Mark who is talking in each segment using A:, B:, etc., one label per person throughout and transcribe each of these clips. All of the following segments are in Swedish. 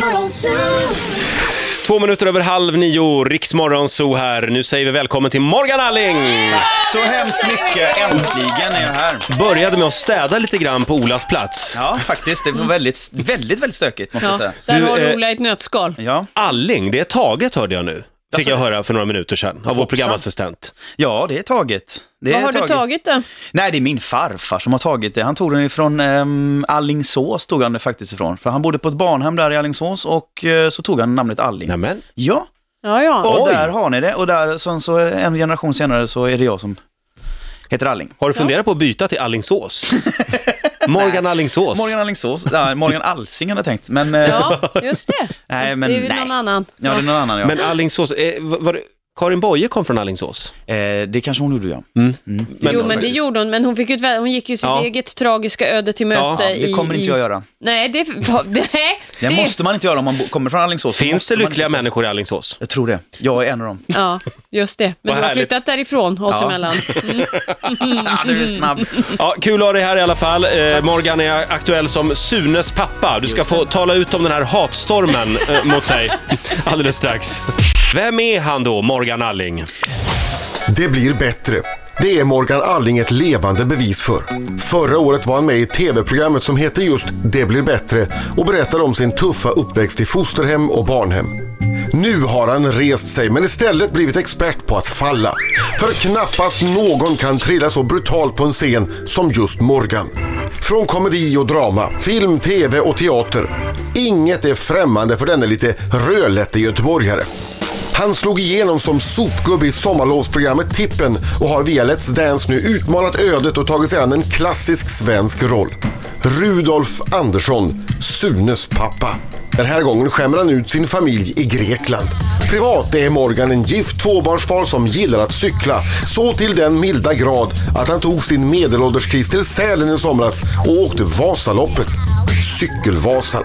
A: Morgonzoo!
B: Två minuter över halv nio, Riksmorgon Zoo här. Nu säger vi välkommen till Morgan Alling!
C: Så hemskt mycket. Äntligen är jag här.
B: Började med att städa lite grann på Olas plats.
C: Ja, faktiskt. Det var väldigt, väldigt, väldigt stökigt måste jag
D: Ja,
C: säga.
D: där
B: Du,
D: har
B: eh,
D: du Ola i ett nötskal.
C: Ja,
B: Alling, det är taget hörde jag nu. Fick
C: Alltså,
B: jag höra för några minuter sedan av vår
C: hoppsan.
B: programassistent.
C: ja det är taget. Det
D: Vad
C: är
D: har du tagit då?
C: Nej, det är min farfar som har tagit det. Han tog den ifrån um, Allingsås, tog han det faktiskt ifrån. För han bodde på ett barnhem där i Allingsås och eh, så tog han namnet Alling.
B: Nämen,
C: Ja,
D: Ja, ja.
C: och
B: Oj.
C: där har ni det. Och där, sen så en generation senare så är det jag som heter Alling.
B: har du funderat på att byta till Allingsås? Morgan Allingsås.
C: Morgan Allingsås, nej, Morgan Alsing hade jag tänkt, men... eh,
D: Ja, just det.
C: Nej, men
D: det är ju
C: nej.
D: någon annan.
C: Ja, det är någon annan ja.
B: Men Allingsås, eh, var, var, det- Karin Boye kom från Allingsås.
C: eh, det kanske hon gjorde ja.
B: Men-
D: jo, men det gjorde hon, men hon, fick ju ett, vä- hon gick ju sitt
B: Ja.
D: eget tragiska öde till möte.
B: Ja,
C: Det kommer
D: i,
C: inte jag göra.
D: Nej, det... Nej,
C: Det, måste man inte göra om man bo- kommer från Alingsås.
B: Finns
C: måste
B: det
C: man
B: lyckliga
C: inte-
B: människor i Allingsås?
C: Jag tror det. Jag är en av dem.
D: Ja, just det. Men
B: Vad
D: du har
B: härligt.
D: flyttat därifrån oss
C: Ja.
D: emellan. Mm.
C: Ah, du är snabb.
B: Ja, kul att ha dig här i alla fall. Eh, Morgan är aktuell som Sunes pappa. Du ska få tala ut om den här hatstormen eh, mot dig alldeles strax. Vem är han då, Morgan Alling?
E: Det blir bättre. Det är Morgan Alling ett levande bevis för. Förra året var han med i tv-programmet som heter just Det blir bättre och berättar om sin tuffa uppväxt i fosterhem och barnhem. Nu har han rest sig men istället blivit expert på att falla. För knappast någon kan trilla så brutalt på en scen som just Morgan. Från komedi och drama, film, tv och teater. Inget är främmande för denne lite rödlätte göteborgare. Han slog igenom som sopgubbe i sommarlovsprogrammet Tippen och har via Let's Dance nu utmanat ödet och tagit sig an en klassisk svensk roll. Rudolf Andersson, Sunes pappa. Den här gången skämmer han ut sin familj i Grekland. Privat är Morgan en gift tvåbarnsfar som gillar att cykla. Så till den milda grad att han tog sin medelålderskris till Sälen i somras och åkte Vasaloppet. Cykelvasan.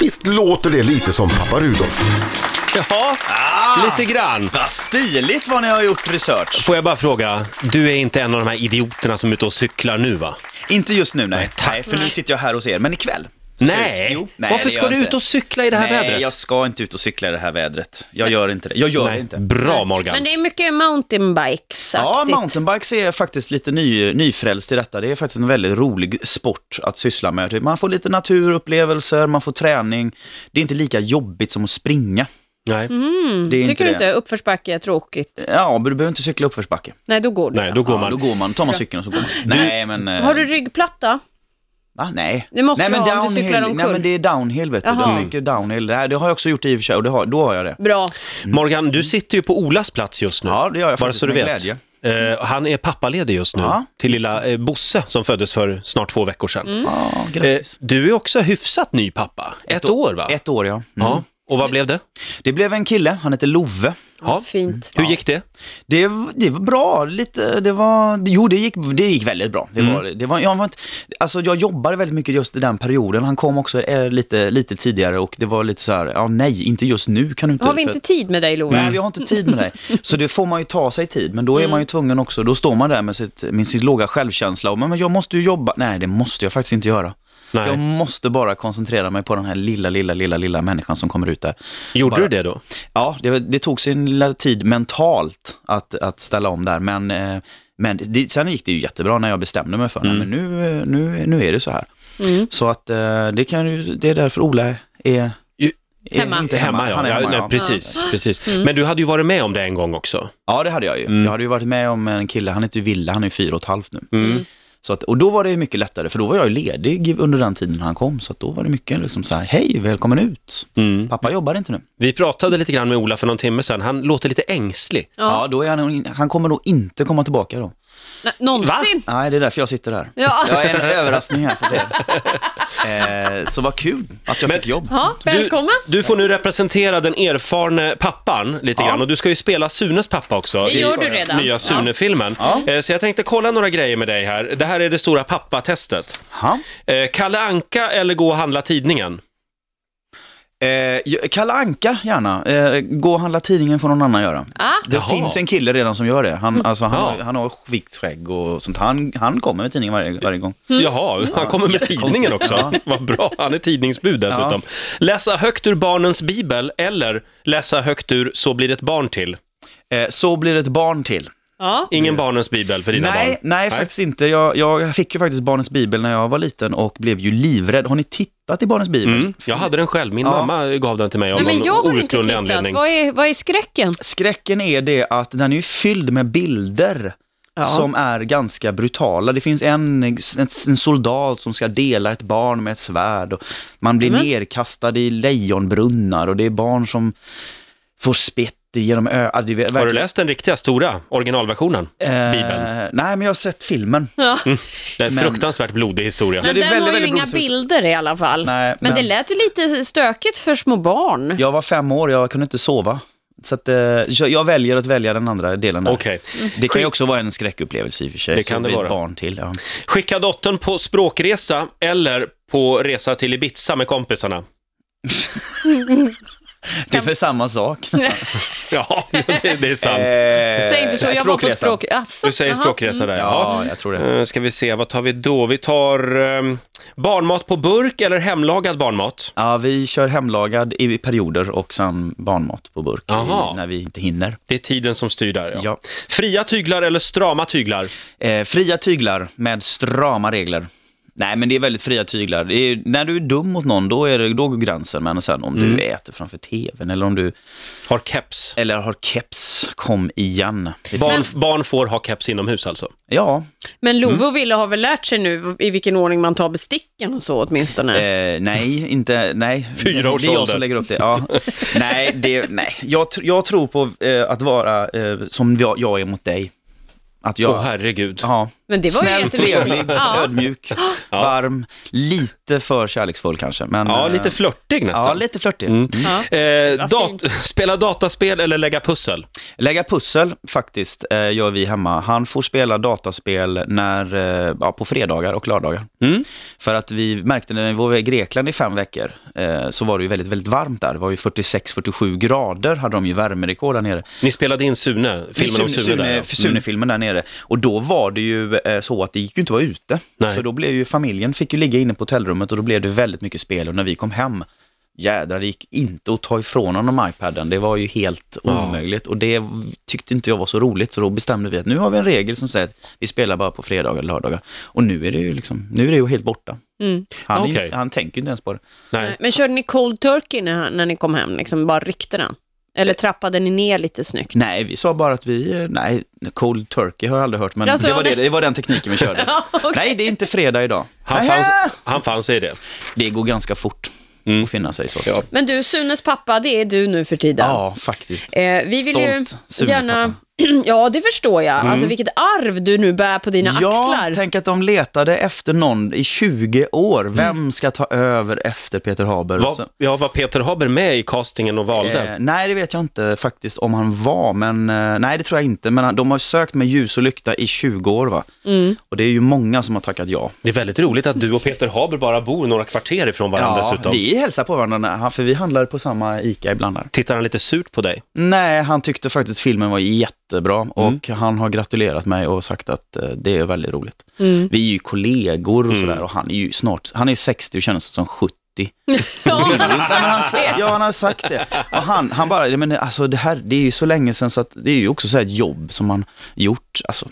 E: Visst låter det lite som pappa Rudolf?
B: Ja,
C: Ah.
B: lite grann.
C: Vad stiligt vad ni har gjort research.
B: Får jag bara fråga, du är inte en av de här idioterna som är ute och cyklar nu va?
C: Inte just nu, nej.
B: tack.
C: nej för nu sitter jag här hos er, men ikväll.
B: Nej,
C: Jo,
B: varför
C: det
B: ska
C: gör
B: du
C: jag
B: ut
C: inte.
B: och cykla i det här
C: nej,
B: vädret?
C: jag ska inte ut och cykla i det här vädret. Jag gör inte det. Jag gör det
B: Nej,
C: inte.
B: bra Morgan.
D: Men det är mycket mountainbikes
C: Ja, mountainbikes är faktiskt lite ny, nyfrälst i detta. Det är faktiskt en väldigt rolig sport att syssla med. Typ, Man får lite naturupplevelser, man får träning. Det är inte lika jobbigt som att springa.
B: Nej,
D: Mm.
B: Mm.
C: Det är
D: Tycker du
C: inte det.
D: inte uppförsbacke är tråkigt?
C: Ja, men du behöver inte cykla uppförsbacke.
D: Nej, då går det.
B: nej, då går
C: ja,
B: man.
C: Då går man, tar man cykeln och så går man. Nej, men... eh,
D: Har du ryggplatta?
C: Va? Nej.
D: Det måste
C: nej, men
D: du ha om du
C: downhill-
D: cyklar omkull.
C: Nej, men det är downhill, vet du.
D: Jaha.
C: Jag tänker downhill. Det, här, det har jag också gjort i och för sig, och det har, då har jag det.
D: Bra.
B: Mm. Morgan, du sitter ju på Olas plats just nu.
C: Ja, det gör jag
B: Bara
C: faktiskt,
B: så du
C: med
B: vet.
C: glädje.
B: Eh, han är pappaledig just nu
C: Ja,
B: till lilla eh, Bosse som föddes för snart två veckor sedan.
C: Ja,
B: Eh,
C: grattis.
B: du är också hyfsat ny pappa. Ett, år, va?
C: Eh, Ett år, ja. Mm.
B: Ja. Och vad blev det?
C: Det blev en kille, han heter Love.
B: Ja.
D: Fint.
B: Hur gick det?
C: Det, det var bra, lite, det var, jo det gick, det gick väldigt bra.
B: Mm.
C: Det var, det var, jag, var inte, alltså jag jobbade väldigt mycket just i den perioden. Han kom också eh, lite, lite tidigare och det var lite så här, ja nej, inte just nu kan du inte.
D: Har vi
C: för-
D: inte tid med dig, Love?
B: Mm.
C: Nej, vi har inte tid med dig. Så det får man ju ta sig tid, men då är man ju tvungen också, då står man där med, sitt, med sin låga självkänsla och men men jag måste ju jobba. Nej, det måste jag faktiskt inte göra.
B: Nej.
C: Jag måste bara koncentrera mig på den här lilla, lilla, lilla, lilla människan som kommer ut där.
B: Gjorde
C: bara-
B: du det då?
C: Ja, det, det tog sin lilla tid mentalt att, att ställa om där, men, eh, men det, sen gick det ju jättebra när jag bestämde mig för det,
B: Mm.
C: men nu, eh, nu, nu är det så här. Så att eh, det, kan ju, det är därför Ola är är
D: Hemma.
C: inte
B: Hemma, ja.
C: Han är
B: ja,
C: hemma,
B: nej, precis. precis. Men du hade ju varit med om det en gång också.
C: Ja, det hade jag ju. Jag hade ju varit med om en kille, han heter ju Ville, han är ju fyra och ett halvt nu. Så att, och då var det ju mycket lättare, för då var jag ju ledig under den tiden han kom, så att då var det mycket liksom så här, hej, välkommen ut. Pappa jobbar inte nu.
B: Vi pratade lite grann med Ola för någon timme sedan. Han låter lite ängslig.
C: Ja, då är han, nog in- han kommer nog inte komma tillbaka då.
D: Nej, någonsin?
C: Nej, det är därför jag sitter här.
D: Ja.
C: Jag är en överraskning här för det. Eh, så vad kul att jag fick jobb.
D: Ja,
B: Du,
D: välkommen.
B: du får nu representera den erfarne pappan lite
C: Ja.
B: grann och du ska ju spela Sunes pappa också.
D: Det
B: i
D: gör du redan.
B: Nya
D: Ja.
B: Sune-filmen. Eh, Så jag tänkte kolla några grejer med dig här. Det här är det stora pappatestet.
C: Ja.
B: Eh, Kalle Anka eller gå och handla tidningen?
C: Eh, jag- Kalle Anka gärna. Eh, gå och handla tidningen får någon annan göra.
D: Ah.
C: Det
B: Jaha.
C: finns en kille redan som gör det. Han, alltså, han,
B: Ja.
C: han har vitt skägg och sånt. Han, han kommer med tidningen varje, varje gång.
D: Mm.
B: Jaha, han kommer med tidningen också. Vad bra, han är tidningsbud dessutom. Läsa högt ur barnens bibel eller läsa högt ur Så blir ett barn till.
C: Eh, så blir det ett barn till.
D: Ja.
B: Ingen barnens bibel för dina
C: Mm. Nej,
B: barn.
C: nej, faktiskt inte. Jag, jag fick ju faktiskt Barnens Bibel när jag var liten och blev ju livrädd. Har ni tittat i Barnens Bibel?
B: Mm, jag hade den själv, min
C: Ja.
B: mamma gav den till mig av
D: Nej, men jag
B: någon
D: har inte
B: outgrundlig
D: tittat.
B: anledning.
D: Vad är, vad är skräcken?
C: Skräcken är det att den är ju fylld med bilder
D: Ja.
C: som är ganska brutala. Det finns en, en, en soldat som ska dela ett barn med ett svärd och man blir nerkastad i lejonbrunnar och det är barn som får spett genom ö... ja, vet,
B: Har du
C: verkligen-
B: läst den riktiga, stora, originalversionen? Bibeln?
C: Eh, nej, men jag har sett filmen.
D: Ja.
B: Det är en
C: men-
B: fruktansvärt blodig historia.
D: Men
C: det är
D: den
C: väldigt,
D: har ju
C: väldigt
D: inga
C: blodigt.
D: bilder i alla fall.
C: Nej,
D: men, det
C: men-
D: lät ju lite stökigt för små barn.
C: Jag var fem år, jag kunde inte sova. Så att, eh, jag, jag väljer att välja den andra delen. där.
B: Okej.
C: Det kan ju också vara en skräckupplevelse i och för sig.
B: Det
C: så
B: kan det
C: blir ett
B: vara.
C: barn till. Ja.
B: Skicka dottern på språkresa eller på resa till Ibiza med kompisarna.
C: Det är för samma sak. nästan.
B: Ja, det, det är sant.
D: Säg inte så,
C: Eh,
D: jag var på
C: språkresa.
D: språk... Asså,
B: Du säger
D: jaha. Mm.
B: språkresa där,
C: Ja, jag tror det.
B: Eh, Ska vi se, vad tar vi då? Vi tar ehm, barnmat på burk eller hemlagad barnmat?
C: Ja, vi kör hemlagad i perioder och sen barnmat på burk i-
B: Jaha.
C: när vi inte hinner.
B: Det är tiden som styr där. Ja.
C: Ja.
B: Fria tyglar eller strama tyglar?
C: Eh, fria tyglar med strama regler. Nej, men det är väldigt fria tyglar. Det är, när du är dum mot någon, då, är det, då går gränsen. Men sen om du
B: Mm.
C: äter framför tvn eller om du
B: Har keps.
C: eller har keps, kom igen. Det
B: Barn,
C: finns-
B: barn får ha keps inomhus alltså.
C: Ja,
D: Men Love
C: Mm.
D: och Ville har väl lärt sig nu i vilken ordning man tar besticken och så åtminstone.
C: Eh, nej, inte, nej.
B: Fyra års
C: Det är jag
B: ålder.
C: som lägger upp det. Ja. nej, det, nej. Jag, tr- jag tror på eh, att vara eh, som jag, jag är mot dig. Att jag...
B: Åh herregud.
C: ja.
D: Men det var ju
C: Snäll,
D: jättemysigt.
C: trevlig,
D: Ja.
C: ödmjuk, varm, lite för kärleksfull kanske. Men,
B: Ja,
C: eh,
B: lite flörtig
C: Ja,
B: nästan.
C: lite flörtig. Mm.
D: Ja.
B: Eh,
D: Vad
B: dat- spela dataspel eller lägga pussel?
C: Lägga pussel faktiskt eh, gör vi hemma. Han får spela dataspel när, eh, ja, på fredagar och lördagar.
B: Mm.
C: För att vi märkte när vi var i Grekland i fem veckor eh, så var det ju väldigt, väldigt varmt där. Det var ju 46-47 grader hade de ju värmerekord där nere.
B: Ni spelade in Sune, filmen om Sune, där. ja. Mm.
C: Sune-filmen där nere. Och då var det ju eh, så att det gick ju inte att vara ute.
B: Nej.
C: Så då blev ju familjen, fick ju ligga inne på hotellrummet och då blev det väldigt mycket spel. Och när vi kom hem, jädrar, det gick inte att ta ifrån honom iPaden. Det var ju helt omöjligt. Och det tyckte inte jag var så roligt, så då bestämde vi att nu har vi en regel som säger att vi spelar bara på fredagar och lördagar. Och nu är det ju liksom, nu är det ju helt borta. Han, är ju-
B: Okej.
C: han tänker ju inte ens på det.
B: Nej.
D: Men körde ni cold turkey när, när ni kom hem, liksom bara ryckte den? Eller trappade ni ner lite snyggt?
C: Nej, vi sa bara att vi, eh, nej, cold turkey har jag aldrig hört, men
D: Alltså,
C: det, var
D: det-
C: det, det var den tekniken vi körde.
D: Ja, okej.
C: Nej, det är inte fredag idag.
B: Han,
C: Nej,
B: fanns,
C: ja.
B: han fanns i det.
C: Det går ganska fort att finna sig så.
B: Ja.
D: Men du, Sunes pappa, det är du nu för tiden.
C: Ja, faktiskt.
D: Eh, vi vill
C: Stolt
D: ju
C: Sune,
D: gärna... Ja, det förstår jag.
B: Mm.
D: Alltså vilket arv du nu bär på dina axlar.
C: Ja, tänk att de letade efter någon i 20 år.
B: Mm.
C: Vem ska ta över efter Peter Haber? Så-
B: Var, ja, var Peter Haber med i castingen och valde?
C: Eh, nej, det vet jag inte faktiskt om han var, men eh, nej det tror jag inte. Men han- de har sökt med ljus och lykta i 20 år va?
D: Mm.
C: Och det är ju många som har tackat ja.
B: Det är väldigt roligt att du och Peter Haber bara bor några kvarter ifrån varandra dessutom.
C: vi hälsar på varandra, när- för vi handlar på samma ICA ibland där.
B: Tittar han lite surt på dig?
C: Nej, han tyckte faktiskt filmen var jättebra och han har gratulerat mig och sagt att eh, det är väldigt roligt.
D: Mm.
C: Vi är ju kollegor och sådär och han är ju snart, han är 60 och känner sig som 70.
D: Ja, alltså.
C: Nej, men han, ja, han har sagt det. Och han, han bara, "Ja, men alltså det här, det är ju så länge sedan så att det är ju också så här ett jobb som man gjort. Alltså.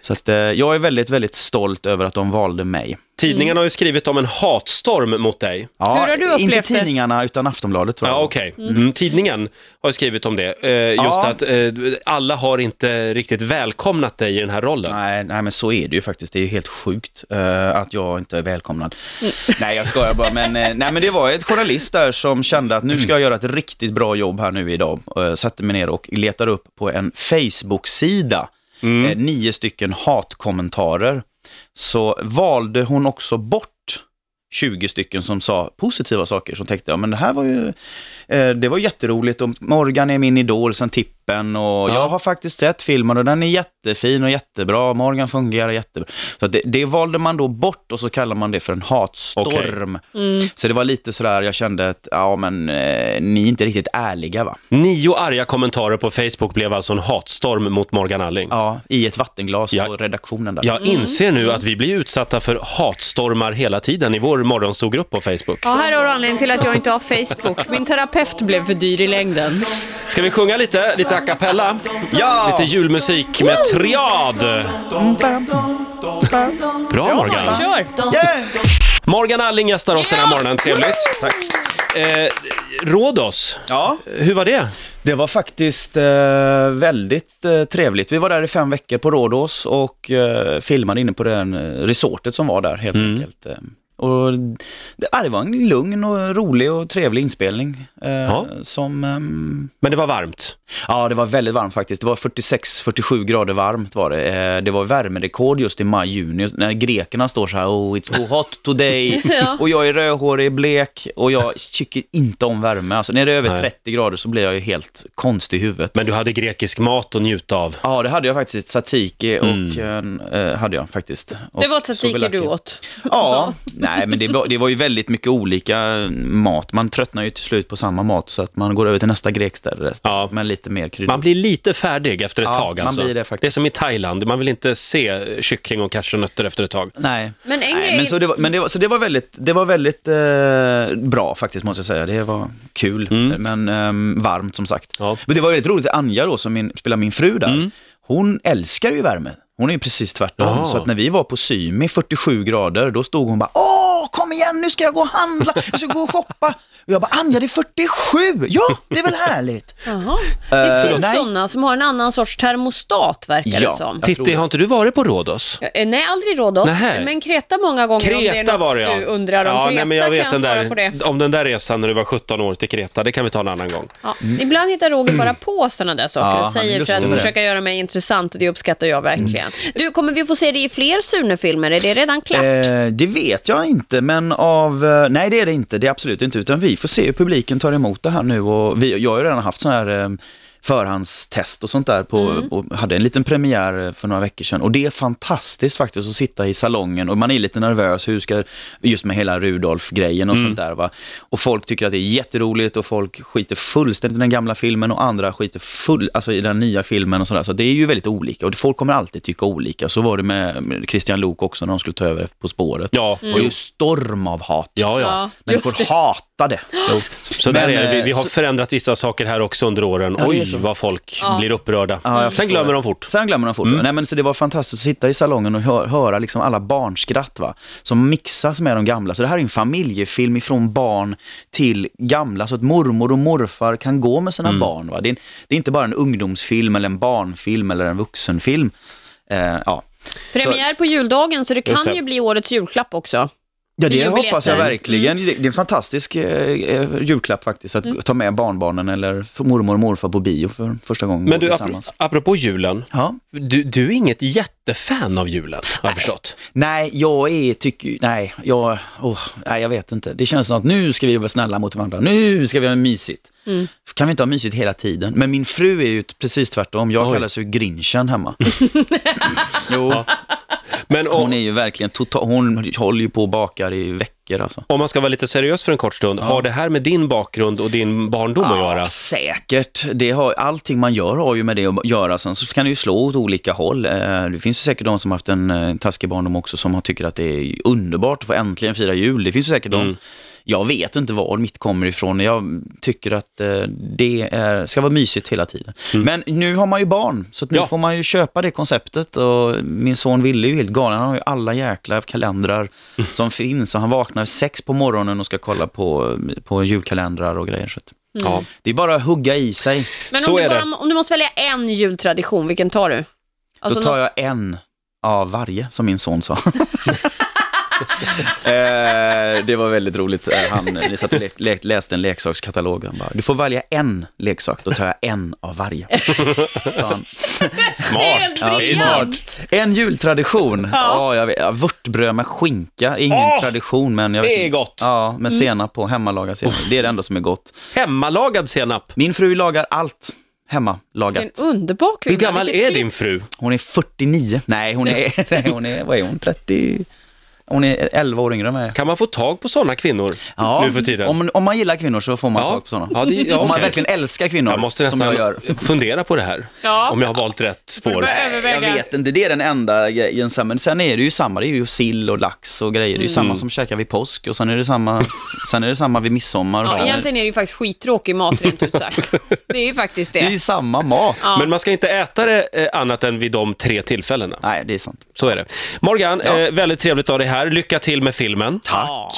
C: Så att, eh, jag är väldigt, väldigt stolt över att de valde mig.
B: Tidningarna har ju skrivit om en hatstorm mot dig.
C: Ja,
D: Hur har du
C: inte
D: upplevt det?
C: tidningarna utan Aftonbladet tror jag.
B: Ja, okej. Mm. Tidningen har ju skrivit om det. Eh, just
C: Ja.
B: att eh, alla har inte riktigt välkomnat dig i den här rollen.
C: Nej, nej, men så är det ju faktiskt. Det är ju helt sjukt eh, att jag inte är välkomnad. Nej, jag skojar bara. Men, eh, nej, men det var ett journalist där som kände att nu ska jag göra ett riktigt bra jobb här nu idag. Uh, satte mig ner och letade upp på en Facebook-sida eh, nio stycken hatkommentarer. Så valde hon också bort 20 stycken som sa positiva saker, som tänkte, ja men det här var ju, eh, det var jätteroligt och Morgan är min idol sen Tipp klippen och
B: Ja.
C: jag har faktiskt sett filmen och den är jättefin och jättebra. Morgan fungerar jättebra. Så att det, det valde man då bort och så kallar man det för en hatstorm. Så det var lite sådär, jag kände att ja men eh, ni är inte riktigt ärliga va?
B: Nio arga kommentarer på Facebook blev alltså en hatstorm mot Morgan Alling.
C: Ja, i ett vattenglas
B: Ja.
C: på redaktionen där.
B: Jag inser nu att vi blir utsatta för hatstormar hela tiden i vår morgonstågrupp på Facebook.
D: Ja, här har du anledningen till att jag inte har Facebook. Min terapeut blev för dyr i längden.
B: Ska vi sjunga lite? Lite a cappella?
C: Ja!
B: Lite julmusik med triad. Bra Morgan!
D: Kör!
C: Yeah!
B: Morgan Alling gästar oss den här morgonen. Trevligt. Tack. Eh, Rhodos,
C: Ja,
B: hur var det?
C: Det var faktiskt eh, väldigt eh, trevligt. Vi var där i fem veckor på Rhodos och eh, filmade inne på den eh, resortet som var där helt enkelt. Eh, Och det, ja, det var en lugn och rolig och trevlig inspelning. Eh, som, ehm,
B: Men det var varmt.
C: ja, det var väldigt varmt faktiskt. Det var 46-47 grader varmt var det. Eh, det var värmerekord just i maj-juni när grekerna står så här oh it's too hot today och jag är rödhårig, blek och jag tycker inte om värme. Alltså när det är över 30 grader så blir jag ju helt konstig i huvudet.
B: Men du hade grekisk mat att njuta av.
C: Ja, det hade jag faktiskt. Tzatziki och eh, hade jag faktiskt. Och
D: Mm. Det var
C: souvlaki.
D: tzatziki du åt.
C: Ja, nej men det var, det var ju väldigt mycket olika mat. Man tröttnar ju till slut på samma mat så att man går över till nästa grekställe
B: Ja.
C: ja. med lite mer kryddor.
B: Man blir lite färdig efter ett
C: Ja,
B: tag
C: man
B: alltså.
C: blir det faktiskt.
B: är som i Thailand, man vill inte se eh, kyckling och cashewnötter efter ett tag.
C: Nej.
D: Men en
C: Nej,
D: grej...
C: men så det var, men det var, så det var väldigt, det var väldigt eh, bra faktiskt måste jag säga. Det var kul, men ehm, varmt som sagt.
B: Mm. Ja. Mm.
C: Men det var väldigt roligt, Anja då som min, spelar min fru där, hon älskar ju värme. Hon är ju precis tvärtom.
B: Ja.
C: Så att när vi var på Symi 47 grader, då stod hon bara Åh, kom igen nu ska jag gå och handla, jag ska gå och shoppa. Och jag bara Anja det är 47, ja det är väl härligt.
D: Jaha. Det
C: Eh,
D: finns
C: nej.
D: sådana som har en annan sorts termostat, verkar
C: Ja.
D: det som.
C: Jag tror
B: Titti,
C: det.
B: har inte du varit på Rhodos?
D: Eh, Nej, aldrig Rhodos,
B: Nähä.
D: men Kreta många gånger om det är
B: Kreta
D: något
B: var det ja.
D: du undrar om.
B: ja,
D: Kreta
B: nej, men jag vet
D: kan
B: den
D: jag svara på det.
B: där, om den där resan när du var 17 år till Kreta, det kan vi ta en annan gång.
D: Ja. Ibland hittar Roger bara på sådana där saker
C: Ja,
D: och
C: han är
D: säger för
C: lustig
D: att
C: med det.
D: försöka göra mig intressant och det uppskattar jag verkligen.
B: Mm.
D: Du, kommer vi få se dig i fler Sune-filmer? Är det redan klart?
C: Eh, det vet jag inte, men av... eh, Nej, det är det inte. Det är absolut inte. Utan vi får se hur publiken tar emot det här nu. Och vi, jag har ju redan haft sådana här eh, förhandstest och sånt där. På, och hade en liten premiär eh, för några veckor sedan. Och det är fantastiskt faktiskt att sitta i salongen och man är lite nervös. Hur ska, just med hela Rudolf-grejen
B: Mm.
C: och sånt där. Va? Och folk tycker att det är jätteroligt och folk skiter fullständigt i den gamla filmen och andra skiter full, alltså i den nya filmen och sådär. Så det är ju väldigt olika och folk kommer alltid tycka olika. Så var det med med Christian Lok också när de skulle ta över På spåret.
B: Ja,
D: Mm.
C: Det var ju storm av hat.
B: ja, ja.
D: Ja.
C: Människor
D: just det.
C: hatade.
B: Så där
C: Men,
B: är det. Vi, vi har
C: eh,
B: förändrat vissa saker här också under åren.
C: det är
B: Oj,
C: så.
B: vad folk blir upprörda.
C: Ja, jag
B: Sen
C: förstår
B: glömmer
C: det.
B: de fort. Mm.
C: Sen glömmer de fort. Nej, men så det var fantastiskt att sitta i salongen och hö- höra liksom alla barnskratt va? som mixas med de gamla. Så det här är en familjefilm ifrån barn till gamla, så att mormor och morfar kan gå med
B: Mm.
C: sina barn. Va? Det, är, det är inte bara en ungdomsfilm eller en barnfilm eller en vuxenfilm. Eh, ja.
D: Premiär på juldagen, så det
B: Just
D: kan
B: det.
D: ju bli årets julklapp också.
C: Ja, det
D: Bio-
C: hoppas jag
D: biljetter.
C: verkligen.
B: Mm.
C: Det det är en fantastisk eh, eh, julklapp faktiskt, att ta med barnbarnen eller f- mormor och morfar på bio för första gången
B: Men du,
C: tillsammans.
B: ap- apropå julen.
C: Ja.
B: Du, du är inget jättefan av julen, har jag förstått.
C: Nej, jag är, tycker, nej, jag, åh, nej, jag vet inte. Det känns som att nu ska vi vara snälla mot varandra, nu ska vi ha mysigt. Kan vi inte ha mysigt hela tiden? Men min fru är ju precis tvärtom, jag
B: Oj.
C: kallas ju grinchen hemma. jo,
B: Men om,
C: hon är ju verkligen total, hon håller ju på och bakar i veckor alltså.
B: om man ska vara lite seriös för en kort stund, har det här med din bakgrund och din barndom att göra?
D: Mm.
C: Ja, säkert. Det har, allting man gör har ju med det att göra. Sen så kan det ju slå åt olika håll. Eh, Det finns ju säkert de som har haft en eh, taskig barndom också som har tycker att det är underbart att få äntligen fira jul. Det finns ju säkert
B: Mm.
C: de, jag vet inte var mitt kommer ifrån. Jag tycker att eh, det är, ska vara mysigt hela tiden. Men nu har man ju barn, så att nu
B: Mm. Ja.
C: får man ju köpa det konceptet. Och min son Wille är ju helt galen. Han har ju alla jäkla kalendrar
B: Mm.
C: som finns. Och han vaknar sex på morgonen och ska kolla på, på julkalendrar och grejer. Så att...
B: Ja.
C: Det är bara att hugga i sig.
D: Men
B: Så
D: om du,
B: är
D: bara,
B: det.
D: om du måste välja en jultradition, vilken tar du? Alltså
C: Då tar
D: något-
C: jag en av varje, som min son sa. eh, det var väldigt roligt. Eh, Han eh, satt och le- le- läste en leksakskatalog. Han bara, du får välja en leksak, då tar jag en av varje. sa han.
B: Smart.
D: Ja,
B: det är smart.
C: En jultradition. Ja. jag vet, ja, vörtbröd med skinka, ingen
B: Åh,
C: tradition. Men jag, vet
B: det är
C: inte.
B: gott. Mm.
C: Ja, med senap på, hemmalagad senap. Det är det enda som är gott.
B: Hemmalagad senap.
C: Min fru lagar allt hemma lagat.
D: Vilken underbar kvinna.
B: Hur gammal
D: Vilket typ
B: är
D: klipp.
B: din fru?
C: Hon är 49. Nej, hon är, nej, hon är vad är hon, 30? Hon är 11 år yngre än mig.
B: Kan man få tag på sådana kvinnor nu för tiden?
C: Om, om man gillar kvinnor så får man
B: Ja.
C: tag på sådana.
B: Ja, det- ja,
C: Om man
B: okej.
C: verkligen älskar kvinnor,
B: Jag måste
C: som jag gör.
B: nästan fundera på det här,
D: Ja.
B: om jag har valt rätt
D: du
B: spår.
D: börja överväga?
C: Jag vet inte, det är den enda grejen. sen. Men sen är det ju samma, det är ju sill och lax och grejer. Det är ju
B: Mm.
C: samma som käkar vid påsk och sen är det samma, sen är det samma vid midsommar. Och
D: Ja,
C: sen är,
D: egentligen är det ju faktiskt skittråkig mat rent ut sagt. Det är ju faktiskt
C: det är ju
D: det.
C: samma mat.
B: Men man ska inte äta det eh, annat än vid de tre tillfällena.
C: Nej, det är sant.
B: Så är det. Morgan, eh, väldigt trevligt att ha dig här. Lycka till med filmen.
C: Tack.
D: Ja.